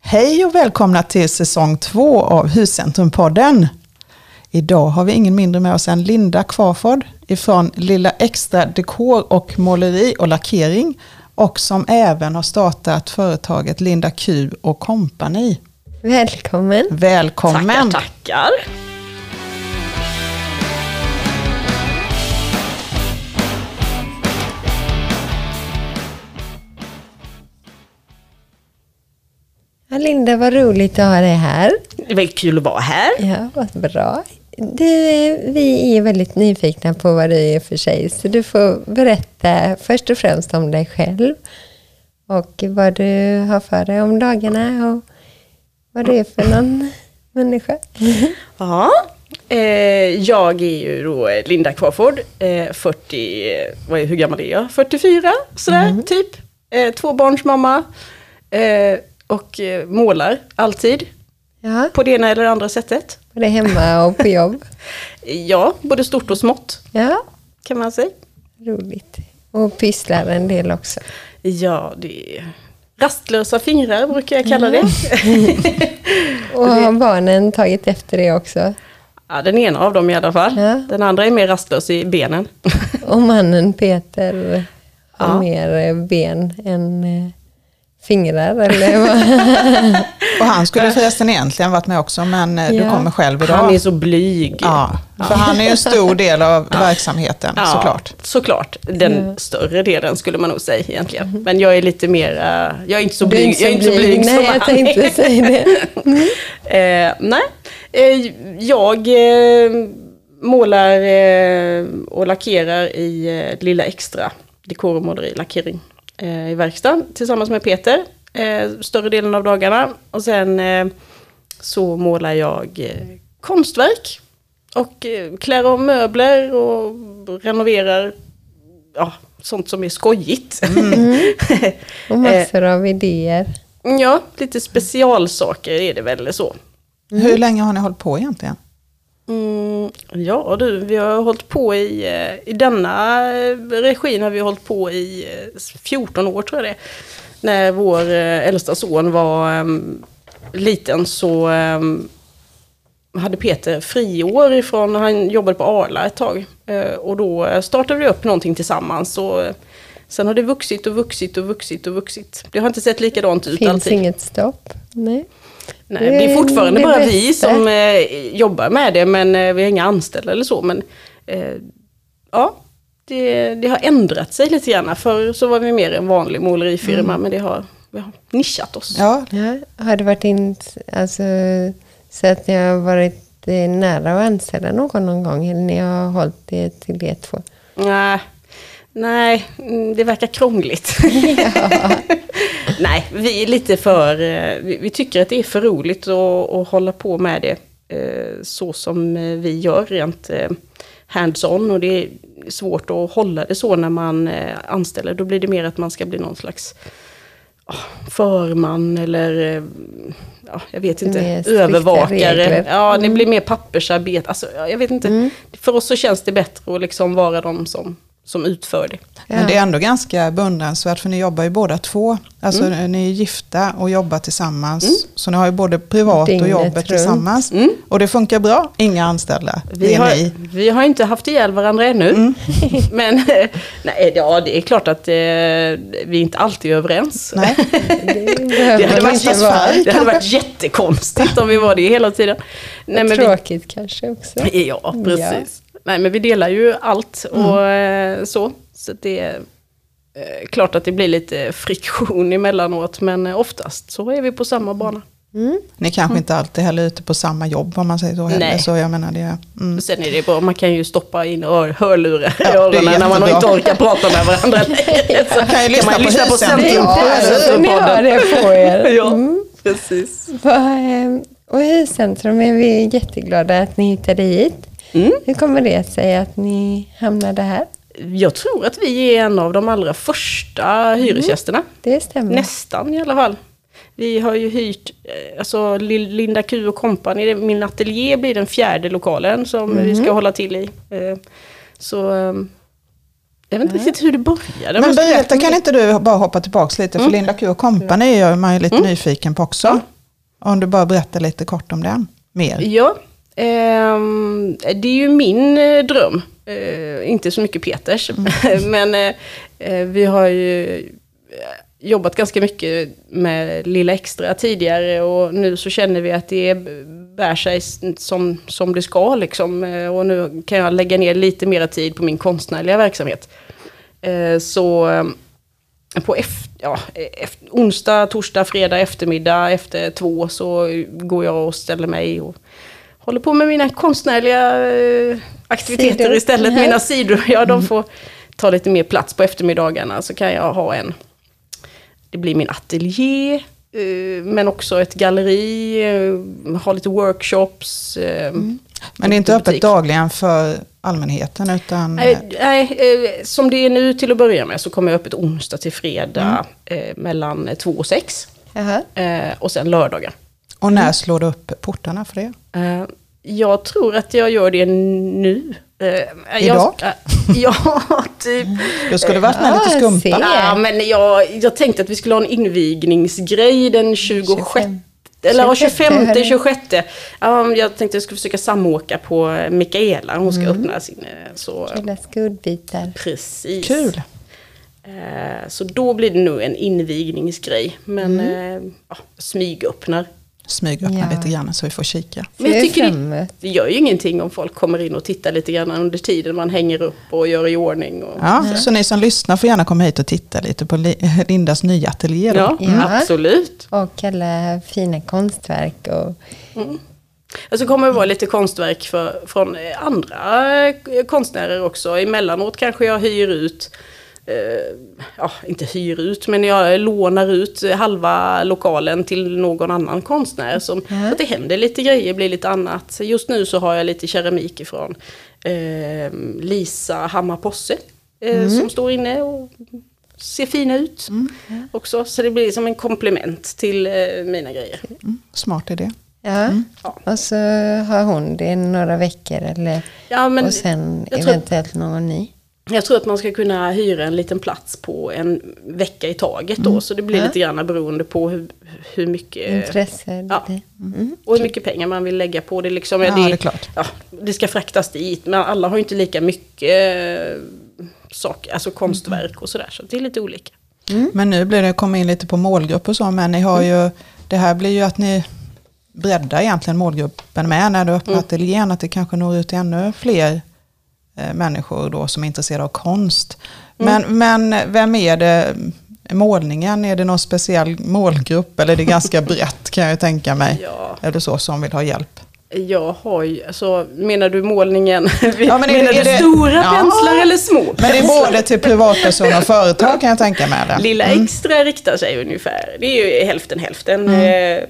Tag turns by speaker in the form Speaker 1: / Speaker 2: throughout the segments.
Speaker 1: Hej och välkomna till säsong två av Huscentrumpodden. Idag har vi ingen mindre med oss än Linda Kvarford ifrån Lilla Extra Dekor och Måleri och Lackering och som även har startat företaget Linda Q och Company.
Speaker 2: Välkommen.
Speaker 1: Välkommen!
Speaker 3: Tackar, tackar.
Speaker 2: Ja, Linda, vad roligt att ha dig här.
Speaker 3: Det var kul att vara här.
Speaker 2: Ja, vad bra. Du, eh, vi är väldigt nyfikna på vad du är för tjej, så du får berätta först och främst om dig själv och vad du har för dig om dagarna och vad du är för någon människa.
Speaker 3: Ja. Eh, jag är ju då Linda Crawford, eh, 40, eh, vad är, hur gammal är jag? 44, sådär typ. Eh, tvåbarnsmamma. Eh, och eh, målar alltid,
Speaker 2: Ja,
Speaker 3: på det ena eller andra sättet.
Speaker 2: både hemma och på jobb.
Speaker 3: Ja, både stort och smått
Speaker 2: Ja,
Speaker 3: kan man säga.
Speaker 2: roligt. Och pysslar en del också.
Speaker 3: Ja, det är rastlösa fingrar brukar jag kalla det.
Speaker 2: Och har barnen tagit efter det också?
Speaker 3: Ja, den ena av dem i alla fall.
Speaker 2: Ja.
Speaker 3: Den andra är mer rastlös i benen.
Speaker 2: Och mannen Peter har mer eh, ben än eh, fingrar eller vad?
Speaker 1: Och han skulle förresten egentligen varit med också men eh, du
Speaker 2: Ja.
Speaker 1: kommer själv idag.
Speaker 3: Han är så blyg.
Speaker 1: ja, för han är ju en stor del av verksamheten såklart.
Speaker 3: såklart. Den större delen skulle man nog säga egentligen. Men jag är lite mer, eh, jag är inte så
Speaker 2: Mm. Du är
Speaker 3: blyg, jag är inte så blyg
Speaker 2: Nej,
Speaker 3: som
Speaker 2: jag
Speaker 3: han
Speaker 2: tänkte
Speaker 3: är.
Speaker 2: säga det.
Speaker 3: Eh, nej, eh, jag eh, målar eh, och lackerar i eh, Lilla Extra, dekor och måleri, lackering, eh, i verkstaden tillsammans med Peter, eh, större delen av dagarna. Och sen eh, så målar jag eh, konstverk och eh, klär om möbler och renoverar ja, sånt som är skojigt. Eh,
Speaker 2: Och massor av idéer.
Speaker 3: ja, lite specialsaker är det väl så.
Speaker 1: Hur länge har ni hållit på egentligen?
Speaker 3: Mm, ja du, vi har hållit på i, eh, i denna eh, regin har vi hållit på i eh, 14 år tror jag det är. När vår eh, äldsta son var em, liten så em, hade Peter friår ifrån, han jobbade på Arla ett tag. Eh, och då eh, startade vi upp någonting tillsammans. Och, eh, sen har det vuxit och vuxit och vuxit och vuxit. Det har inte sett likadant ut
Speaker 2: Finns
Speaker 3: alltid.
Speaker 2: inget stopp. Nej.
Speaker 3: Nej, det är fortfarande
Speaker 2: Det
Speaker 3: bara
Speaker 2: bästa.
Speaker 3: vi som eh, jobbar med det, men eh, vi har inga anställda eller så. Men eh, ja, det, det har ändrat sig lite grann. Förr så var vi mer en vanlig målerifirma, men det har, vi har nischat oss.
Speaker 1: Ja,
Speaker 2: Ja, har det varit in, alltså, så att ni har varit eh, nära att anställa någon någon gång? Eller ni har hållit det till er två?
Speaker 3: Nej, nej, mm, det verkar krångligt. nej, vi är lite för... eh, Vi, vi tycker att det är för roligt att, att hålla på med det eh, så som eh, vi gör rent eh, hands-on. Och det är svårt att hålla det så när man eh, anställer. Då blir det mer att man ska bli någon slags ah, förman eller, eh, ja, jag vet
Speaker 2: Mer
Speaker 3: inte,
Speaker 2: strikta
Speaker 3: övervakare.
Speaker 2: regler. Mm.
Speaker 3: Ja, det blir mer pappersarbete. Alltså, ja, jag vet inte. För oss så känns det bättre att liksom vara de som, som utför det.
Speaker 1: men det är ändå ganska beundransvärt för ni jobbar ju båda två. Alltså
Speaker 3: Mm.
Speaker 1: ni är gifta och jobbar tillsammans. Så ni har ju både privat och
Speaker 2: Dygnet
Speaker 1: jobbet
Speaker 2: runt.
Speaker 1: tillsammans. Och det funkar bra, inga anställda.
Speaker 3: Mm. Vi
Speaker 1: det är
Speaker 3: har,
Speaker 1: ni.
Speaker 3: vi har inte haft ihjäl varandra ännu. Men nej, ja, det är klart att eh, vi inte alltid är överens.
Speaker 1: Nej.
Speaker 2: Det,
Speaker 3: Det
Speaker 2: behöver
Speaker 3: hade,
Speaker 2: man
Speaker 3: varit
Speaker 1: fast
Speaker 2: inte
Speaker 3: jätte,
Speaker 2: vara.
Speaker 1: färg,
Speaker 3: det hade varit jättekonstigt om vi var det hela tiden. Nej, men vi,
Speaker 2: Tråkigt kanske också.
Speaker 3: ja, precis. Nej, men vi delar ju allt och eh, så. Så det är eh, klart att det blir lite friktion emellanåt, men eh, oftast så är vi på samma bana.
Speaker 1: Ni kanske inte alltid heller är ute på samma jobb om man säger så heller.
Speaker 3: Nej.
Speaker 1: Så jag menar det. är- Mm.
Speaker 3: Sen är det bra, man kan ju stoppa in hör, hörlurar i
Speaker 1: det är
Speaker 3: öronen när man
Speaker 1: jättebra.
Speaker 3: inte orkar prata med varandra längre. Så
Speaker 1: kan ju lyssna på husen.
Speaker 3: Centrum-
Speaker 1: Ja,
Speaker 2: alltså, ni har
Speaker 3: Centrumpodden.
Speaker 2: det på er. Mm.
Speaker 3: Ja, precis.
Speaker 2: Vad, eh, Och i centrum är vi jätteglada att ni hittade hit.
Speaker 3: Mm.
Speaker 2: Hur kommer det sig att ni hamnade här?
Speaker 3: Jag tror att vi är en av de allra första hyresgästerna.
Speaker 2: Det stämmer.
Speaker 3: Nästan i alla fall. Vi har ju hyrt, eh, alltså Lil- Linda Q och Company, det- min ateljé blir den fjärde lokalen som vi ska hålla till i. Eh, Så eh, jag vet inte riktigt hur det började.
Speaker 1: Men
Speaker 3: måste jag Mm.
Speaker 1: berätta, kan inte du bara hoppa tillbaka lite? För Linda Q och Company är ju- man ju lite nyfiken på också. Om du bara berättar lite kort om den. Mer.
Speaker 3: Ja, ehm, det är ju min eh, dröm. Eh, inte så mycket Peters, men eh, eh, vi har ju eh, jobbat ganska mycket med Lilla Extra tidigare och nu så känner vi att det bär sig s- som, som det ska liksom. Eh, Och nu kan jag lägga ner lite mer tid på min konstnärliga verksamhet. Eh, Så eh, på eft- ja, eft- onsdag, torsdag, fredag eftermiddag efter två så går jag och ställer mig och håller på med mina konstnärliga eh, aktiviteter
Speaker 2: Sidor.
Speaker 3: istället.
Speaker 2: Mhm.
Speaker 3: Mina sidor, ja de får ta lite mer plats på eftermiddagarna så kan jag ha en det blir min ateljé, eh, men också ett galleri, eh, ha lite workshops. eh,
Speaker 1: Men det är inte
Speaker 3: lite
Speaker 1: öppet
Speaker 3: butik.
Speaker 1: dagligen för allmänheten utan...
Speaker 3: Nej, nej, eh, som det är nu till att börja med så kommer jag öppet onsdag till fredag eh, mellan två och sex.
Speaker 2: Jaha.
Speaker 3: eh, Och sen lördagar.
Speaker 1: Och när
Speaker 3: Mm.
Speaker 1: slår du upp portarna för det?
Speaker 3: Eh, Jag tror att jag gör det nu. Eh,
Speaker 1: Idag?
Speaker 3: Jag, eh, ja, typ.
Speaker 1: Då skulle du varit med
Speaker 2: Ja,
Speaker 1: lite
Speaker 2: jag
Speaker 1: skumpa.
Speaker 2: ser.
Speaker 3: Ja, men jag, jag tänkte att vi skulle ha en invigningsgrej den 26.
Speaker 2: 25.
Speaker 3: Eller ja,
Speaker 2: 25,
Speaker 3: 25,
Speaker 2: hörru.
Speaker 3: 26. Ja, jag tänkte jag skulle försöka samåka på eh, Mikaela. Hon ska
Speaker 1: Mm.
Speaker 3: öppna sin... eh, Så,
Speaker 2: Lilla skuldbitar.
Speaker 3: precis.
Speaker 1: Kul.
Speaker 3: Eh, Så då blir det nog en invigningsgrej. Men
Speaker 1: Mm.
Speaker 3: eh, ja, smygöppnar.
Speaker 1: Smygöppna
Speaker 2: Ja.
Speaker 1: lite grann så vi får kika.
Speaker 3: Men
Speaker 2: Ser
Speaker 3: jag tycker
Speaker 2: fram
Speaker 3: det,
Speaker 2: emot.
Speaker 3: det gör ju ingenting om folk kommer in och tittar lite grann under tiden man hänger upp och gör i ordning. Och,
Speaker 1: Ja, Så ni som lyssnar får gärna komma hit och titta lite på Li- Lindas nya ateljé. då.
Speaker 3: Ja,
Speaker 2: Ja.
Speaker 3: absolut.
Speaker 2: Och alla fina konstverk. Och,
Speaker 3: Alltså det kommer att vara lite konstverk för, från eh, andra eh, konstnärer också. Emellanåt kanske jag hyr ut, eh, ja inte hyr ut, men jag lånar ut eh, halva lokalen till någon annan konstnär. Som, så att det händer lite grejer, blir lite annat. Så Just nu så har jag lite keramik ifrån eh, Lisa Hammar Posse. Eh,
Speaker 2: Mm.
Speaker 3: Som står inne och ser fina ut också. Så det blir som en komplement till eh, mina grejer.
Speaker 1: Mm, smart idé.
Speaker 2: ja.
Speaker 3: Ja.
Speaker 2: och så har hon det några veckor eller,
Speaker 3: Ja, men
Speaker 2: och sen
Speaker 3: jag tror-
Speaker 2: eventuellt någon ny.
Speaker 3: Jag tror att man ska kunna hyra en liten plats på en vecka i taget
Speaker 1: Mm.
Speaker 3: då. Så det blir lite grann beroende på hur, hur mycket...
Speaker 2: Intresse.
Speaker 3: Eh, Ja.
Speaker 2: lite.
Speaker 3: Och hur mycket pengar man vill lägga på det. Liksom,
Speaker 1: Mm. Ja, det är klart.
Speaker 3: Ja, det ska fraktas dit, men alla har ju inte lika mycket eh, saker, alltså konstverk och sådär. Så det är lite olika.
Speaker 1: Men nu blir det komma in lite på målgrupp och så, men ni
Speaker 3: Mm.
Speaker 1: har ju, det här blir ju att ni breddar egentligen målgruppen med när du öppnar
Speaker 3: Mm.
Speaker 1: ateljén, att det kanske når ut till ännu fler eh, människor då som är intresserade av konst.
Speaker 3: Mm.
Speaker 1: Men, men vem är det, målningen, är det någon speciell målgrupp eller är det ganska brett kan jag ju tänka mig?
Speaker 3: Ja.
Speaker 1: Eller så som vill ha hjälp.
Speaker 3: Jag har ju, alltså menar du målningen?
Speaker 1: Ja, men är
Speaker 3: menar
Speaker 1: det- är
Speaker 3: du
Speaker 1: det-
Speaker 3: stora
Speaker 1: Ja.
Speaker 3: penslar eller små?
Speaker 1: Men det är både till privatpersoner och företag kan jag tänka mig. Mm. Det.
Speaker 3: Lilla Extra riktar sig ungefär, det är ju hälften hälften
Speaker 1: Mm.
Speaker 3: eh,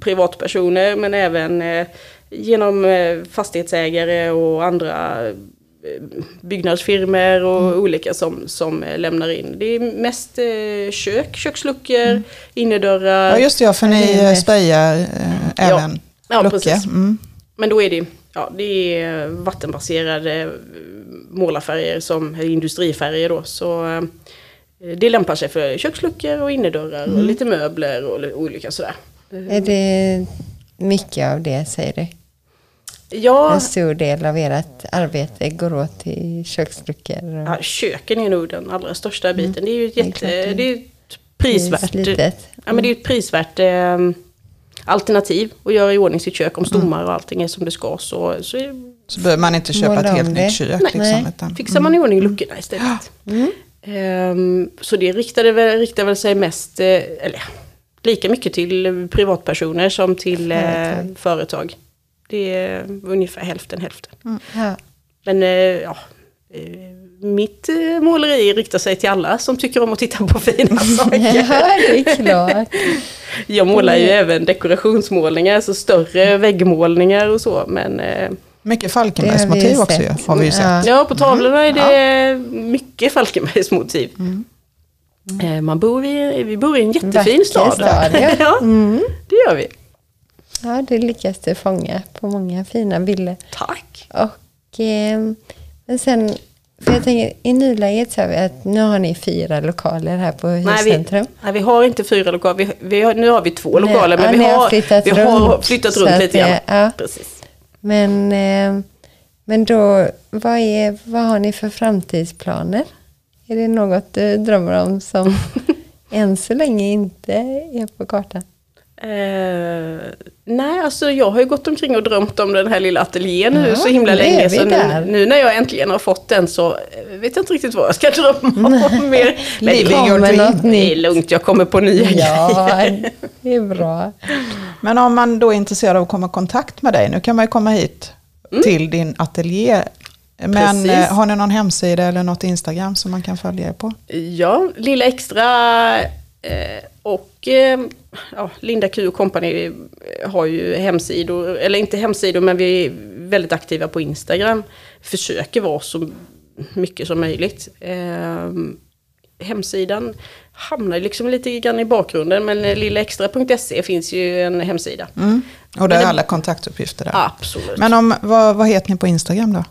Speaker 3: privatpersoner men även eh, genom eh, fastighetsägare och andra eh, byggnadsfirmor och
Speaker 1: Mm.
Speaker 3: olika som, som eh, lämnar in. Det är mest eh, kök, köksluckor, innerdörrar.
Speaker 1: Mm. Ja just det, ja, för ni eh, spejar eh, även
Speaker 3: Ja,
Speaker 1: luckor.
Speaker 3: precis.
Speaker 1: Mm.
Speaker 3: Men då är det, ja, det är vattenbaserade eh, målarfärger som är industrifärger då. Så eh, det lämpar sig för köksluckor och innerdörrar
Speaker 1: Mm.
Speaker 3: och lite möbler och li- olika sådär.
Speaker 2: Är det mycket av det, säger du?
Speaker 3: Ja,
Speaker 2: En stor del av ert arbete går åt till köksluckor? och-
Speaker 3: ja, köken är nog den allra största biten. Det är ju ett
Speaker 2: är
Speaker 3: jätte,
Speaker 2: klart det är.
Speaker 3: det är ett prisvärt,
Speaker 2: Slitet.
Speaker 3: ja, men det är ett prisvärt eh, alternativ att göra i ordning sitt kök om stommar och allting är som det ska. Så, så är-
Speaker 1: Så behöver man inte köpa
Speaker 2: Måla
Speaker 1: ett helt
Speaker 2: om det.
Speaker 1: nytt kök.
Speaker 2: Nej.
Speaker 1: Liksom,
Speaker 2: Nej.
Speaker 1: utan,
Speaker 3: fixar man i ordning luckorna istället. Ehm, så det riktade väl, riktar väl sig mest, eh, eller lika mycket till eh, privatpersoner som till företag. Eh,
Speaker 2: Företag.
Speaker 3: företag. Det är ungefär hälften hälften.
Speaker 2: Mm, Ja.
Speaker 3: Men eh, ja, eh, mitt eh, måleri riktar sig till alla som tycker om att titta på fina saker.
Speaker 2: ja, det är klart.
Speaker 3: Jag målar ju även dekorationsmålningar, alltså större
Speaker 2: Mm.
Speaker 3: väggmålningar och så. Men eh,
Speaker 1: mycket
Speaker 2: Det har vi
Speaker 1: Falkenbergsmotiv
Speaker 2: ju
Speaker 1: också ju,
Speaker 2: sett.
Speaker 1: har vi ju sett.
Speaker 2: Ja.
Speaker 3: Ja, på tavlorna
Speaker 2: Mm.
Speaker 3: är det mycket Falkenbergsmotiv. Eh, Man bor i, vi bor i en jättefin
Speaker 2: Mm. Vacker
Speaker 3: stad.
Speaker 2: stad, ja. Mm.
Speaker 3: ja, det gör vi.
Speaker 2: Ja, det lyckas du fånga på många fina bilder.
Speaker 3: Tack.
Speaker 2: Och, eh, ehm, men sen För jag tänker, i nuläget så har vi att nu har ni fyra lokaler här på
Speaker 3: Nej vi,
Speaker 2: Huscentrum.
Speaker 3: nej, vi har inte fyra lokaler. Vi, vi har, nu har vi två
Speaker 2: Nej,
Speaker 3: lokaler,
Speaker 2: ja,
Speaker 3: men vi,
Speaker 2: ni har
Speaker 3: har,
Speaker 2: flyttat
Speaker 3: vi har
Speaker 2: runt,
Speaker 3: flyttat
Speaker 2: så
Speaker 3: runt
Speaker 2: att
Speaker 3: lite
Speaker 2: det-
Speaker 3: grann.
Speaker 2: ja.
Speaker 3: Precis.
Speaker 2: Men, eh, men då, vad, är, vad har ni för framtidsplaner? Är det något du drömmer om som än så länge inte är på kartan?
Speaker 3: Eh, nej, alltså jag har ju gått omkring och drömt om den här lilla ateljén nu
Speaker 2: Ja,
Speaker 3: så himla
Speaker 2: nu är
Speaker 3: länge.
Speaker 2: vi
Speaker 3: Så
Speaker 2: där.
Speaker 3: nu, nu när jag äntligen har fått den så eh, vet jag inte riktigt vad jag ska drömma om mer. Men
Speaker 1: Living
Speaker 3: det,
Speaker 1: your
Speaker 2: Kommer
Speaker 1: dream.
Speaker 2: något
Speaker 3: det är
Speaker 2: nytt?
Speaker 3: lugnt, jag kommer på nya
Speaker 2: Ja,
Speaker 3: grejer.
Speaker 2: det är bra.
Speaker 1: Men om man då är intresserad av att komma i kontakt med dig, nu kan man ju komma hit till din ateljé. Men
Speaker 3: Mm. Precis.
Speaker 1: eh, har ni någon hemsida eller något Instagram som man kan följa er på?
Speaker 3: Ja, Lilla Extra eh, och eh, ja, Linda Q Company har ju hemsidor, eller inte hemsidor, men vi är väldigt aktiva på Instagram. Försöker vara så mycket som möjligt. Eh, hemsidan hamnar ju liksom lite grann i bakgrunden, men eh, lillaextra.se finns ju en hemsida.
Speaker 1: Och där
Speaker 3: Mm. Men
Speaker 1: är
Speaker 3: det-
Speaker 1: alla kontaktuppgifter där.
Speaker 3: Absolut.
Speaker 1: Mm. Men om, vad, vad heter ni på Instagram då?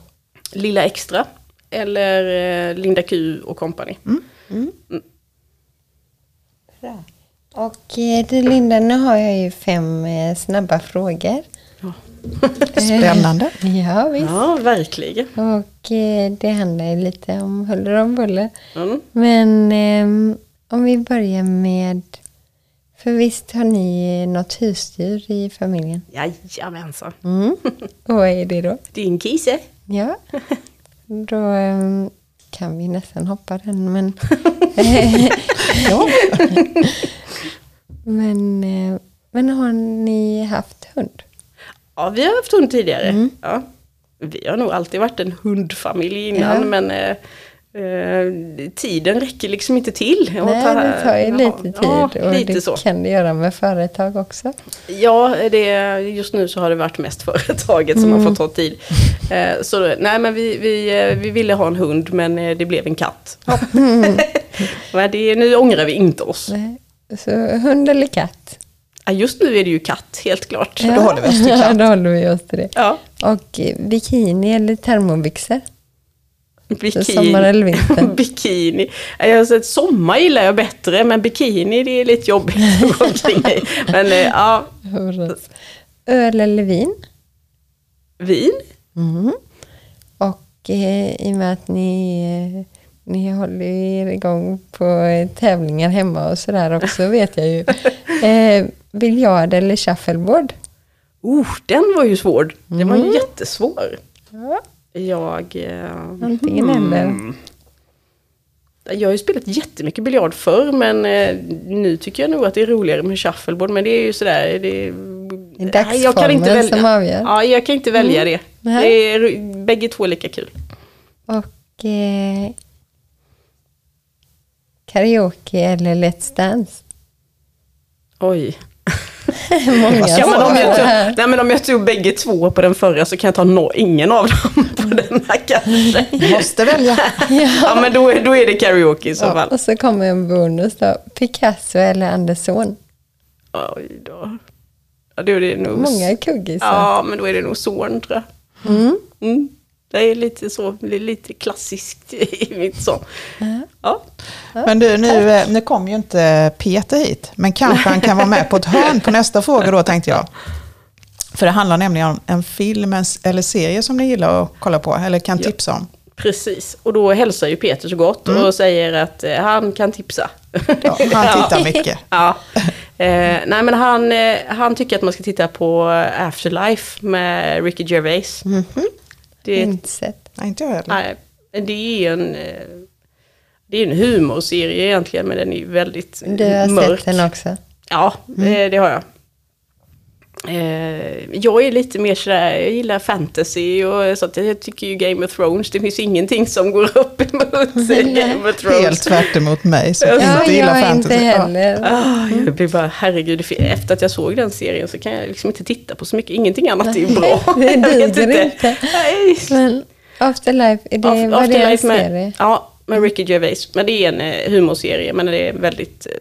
Speaker 3: Lilla Extra eller eh, Linda Q och Company.
Speaker 2: Bra. Och eh, du, Linda, nu har jag ju fem eh, snabba frågor.
Speaker 3: Ja.
Speaker 2: Eh.
Speaker 1: Spännande.
Speaker 2: Ja, visst.
Speaker 3: ja, verkligen.
Speaker 2: Och eh, det handlar ju lite om huller om buller.
Speaker 3: Mm.
Speaker 2: Men ehm, om vi börjar med... För visst har ni eh, något husdjur i familjen?
Speaker 3: Jajamensan.
Speaker 2: Mm. Och vad är det då?
Speaker 3: Det är en kise.
Speaker 2: Ja. Då ehm, kan vi nästan hoppa den, men... ja. men, eh, men har ni haft hund?
Speaker 3: Ja, vi har haft hund tidigare.
Speaker 2: Mm.
Speaker 3: Ja. Vi har nog alltid varit en hundfamilj innan,
Speaker 2: Ja.
Speaker 3: men eh, eh, tiden räcker liksom inte till. att
Speaker 2: Nej,
Speaker 3: ta-
Speaker 2: det tar ju
Speaker 3: ja,
Speaker 2: lite tid
Speaker 3: Ja,
Speaker 2: och
Speaker 3: lite
Speaker 2: det
Speaker 3: så.
Speaker 2: kan det göra med företag också.
Speaker 3: Ja, det, just nu så har det varit mest företaget som
Speaker 2: Mm.
Speaker 3: har fått ta tid. Eh, så nej, men vi, vi, eh, vi ville ha en hund, men eh, det blev en katt. men det, nu ångrar vi inte oss.
Speaker 2: Mm. Nej. Så hund eller katt?
Speaker 3: Ja, just nu är det ju katt, helt klart.
Speaker 1: då håller vi oss till katt.
Speaker 2: Ja, då håller vi oss till det.
Speaker 3: Ja,
Speaker 2: Och eh, bikini eller termobyxor?
Speaker 3: bikini.
Speaker 2: Sommar eller vinter?
Speaker 3: bikini. Alltså, sommar gillar jag bättre, men bikini det är lite jobbigt att gå omkring i. Men eh, ja,
Speaker 2: Öl eller vin?
Speaker 3: vin.
Speaker 1: Mm.
Speaker 2: Mhm. Och eh, i och med att ni, eh, ni håller er igång på eh, tävlingar hemma och sådär också vet jag ju. Eh, biljard eller shuffleboard?
Speaker 3: Oh, den var ju svår. Den var
Speaker 2: Mm.
Speaker 3: ju jättesvår.
Speaker 2: Ja.
Speaker 3: Jag, eh,
Speaker 2: Antingen
Speaker 3: Mm.
Speaker 2: eller.
Speaker 3: jag har ju spelat jättemycket biljard förr, men eh, nu tycker jag nog att det är roligare med shuffleboard. Men det är ju sådär, det
Speaker 2: Det är dagsformen som avgör.
Speaker 3: Ja, jag kan inte välja det.
Speaker 2: Nej.
Speaker 3: det är, ro- bägge två är lika kul.
Speaker 2: Och eh, karaoke eller Let's Dance?
Speaker 3: Oj.
Speaker 2: Många
Speaker 3: Ja, men om, jag
Speaker 2: svarar
Speaker 3: tog,
Speaker 2: här.
Speaker 3: nej, men om jag tog bägge två på den förra så kan jag ta nå, ingen av dem på den här kanske.
Speaker 1: Måste välja.
Speaker 3: Ja, men då, är- då är det karaoke i så
Speaker 2: Ja,
Speaker 3: fall.
Speaker 2: och så kommer en bonus då. Picasso eller Andersson.
Speaker 3: Oj då. Ja, då är det nog...
Speaker 2: Många kuggisar.
Speaker 3: Ja, men då är det nog Zorn tror jag.
Speaker 2: Mm.
Speaker 3: Mm. Det är lite så, det är lite klassiskt i mitt sång. Ja.
Speaker 1: Men du, nu, eh, nu kom ju inte Peter hit, men kanske han kan vara med på ett hörn på nästa fråga då tänkte jag. För det handlar nämligen om en film en s- eller serie som ni gillar att kolla på, eller kan
Speaker 3: Ja.
Speaker 1: tipsa om.
Speaker 3: Precis, och då hälsar ju Peter så gott och säger att eh, han kan tipsa.
Speaker 1: Ja, han tittar mycket.
Speaker 3: Ja. Eh, nej men han, eh, han tycker att man ska titta på Afterlife med Ricky Gervais.
Speaker 2: Mhm.
Speaker 3: Det, är-
Speaker 2: Inte sett.
Speaker 1: Nej, inte jag heller.
Speaker 3: nej, det är en... eh, Det är en humorserie egentligen, men den är ju väldigt eh,
Speaker 2: Du har
Speaker 3: mörk.
Speaker 2: sett den Mm. också.
Speaker 3: Ja, eh, det har jag. Eh, Jag är lite mer sådär, jag gillar fantasy och sånt. Jag tycker ju Game of Thrones, det finns ingenting som går upp emot Game of Thrones.
Speaker 1: Helt tvärt emot mig som
Speaker 2: Ja,
Speaker 1: inte
Speaker 2: jag
Speaker 1: gillar
Speaker 2: är
Speaker 1: fantasy.
Speaker 2: inte heller.
Speaker 3: Ah,
Speaker 2: Mm.
Speaker 3: jag blir bara, herregud, det fin- efter att jag såg den serien så kan jag liksom inte titta på så mycket. Ingenting annat är bra.
Speaker 2: Det
Speaker 3: Jag vet
Speaker 2: duger inte.
Speaker 3: Nej.
Speaker 2: Men Afterlife, är det,
Speaker 3: Af-
Speaker 2: var det en
Speaker 3: Afterlife med-
Speaker 2: serie? Mm.
Speaker 3: Ja, med Ricky Gervais. Men det är en eh, humorserie, men det är väldigt, eh,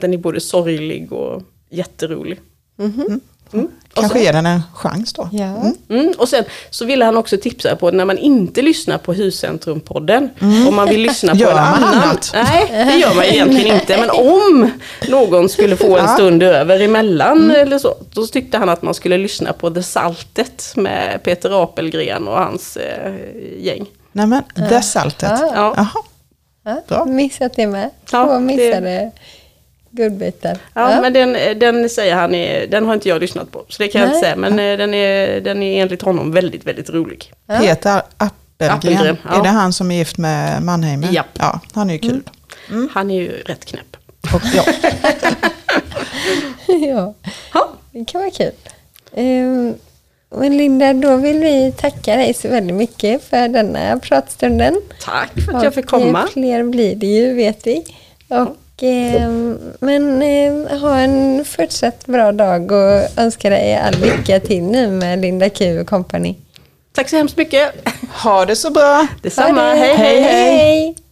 Speaker 3: den är både sorglig och jätterolig. Mm. Och
Speaker 1: Kanske
Speaker 3: sen-
Speaker 1: ge den en chans då.
Speaker 2: Ja.
Speaker 3: Mm, och sen så ville han också tipsa på att när man inte lyssnar på Huscentrumpodden, om man vill lyssna på
Speaker 1: Mm. Gör
Speaker 3: en
Speaker 1: man
Speaker 3: annan.
Speaker 1: annat?
Speaker 3: Nej, det gör man egentligen inte. Men om någon skulle få en
Speaker 1: Ja. Mm.
Speaker 3: stund över emellan eller så, då tyckte han att man skulle lyssna på The Saltet med Peter Apelgren och hans eh, gäng.
Speaker 1: Nej men, The Saltet.
Speaker 2: Ja.
Speaker 3: Ja.
Speaker 1: Jaha.
Speaker 2: Ja,
Speaker 1: Bra.
Speaker 2: Missat det med. Två
Speaker 3: Ja, det-
Speaker 2: missade guldbitar.
Speaker 3: Ja,
Speaker 2: Ja.
Speaker 3: men den, den säger han, är, den har inte jag lyssnat på, så det kan jag inte
Speaker 2: Nej.
Speaker 3: säga. Men eh, den är, den är enligt honom väldigt, väldigt rolig.
Speaker 2: Ja.
Speaker 1: Peter Appelgren,
Speaker 3: Appelgren, ja.
Speaker 1: är det han som är gift med Mannheimer?
Speaker 3: Japp.
Speaker 1: Ja, han är ju kul.
Speaker 2: Mm.
Speaker 1: Mm.
Speaker 3: Han är ju rätt knäpp.
Speaker 1: Och, ja.
Speaker 2: ja,
Speaker 3: Ja,
Speaker 2: det kan vara kul. Ehm, men Linda, då vill vi tacka dig så väldigt mycket för denna pratstunden.
Speaker 3: tack för att jag fick
Speaker 2: Och, eh,
Speaker 3: komma.
Speaker 2: Fler blir det ju, vet vi. Och, ehm, men eh, ha en fortsatt bra dag och önskar dig all lycka till nu med Linda Q Company.
Speaker 3: Tack så hemskt mycket.
Speaker 1: Ha det så bra!
Speaker 3: Detsamma, hej hej!
Speaker 2: hej.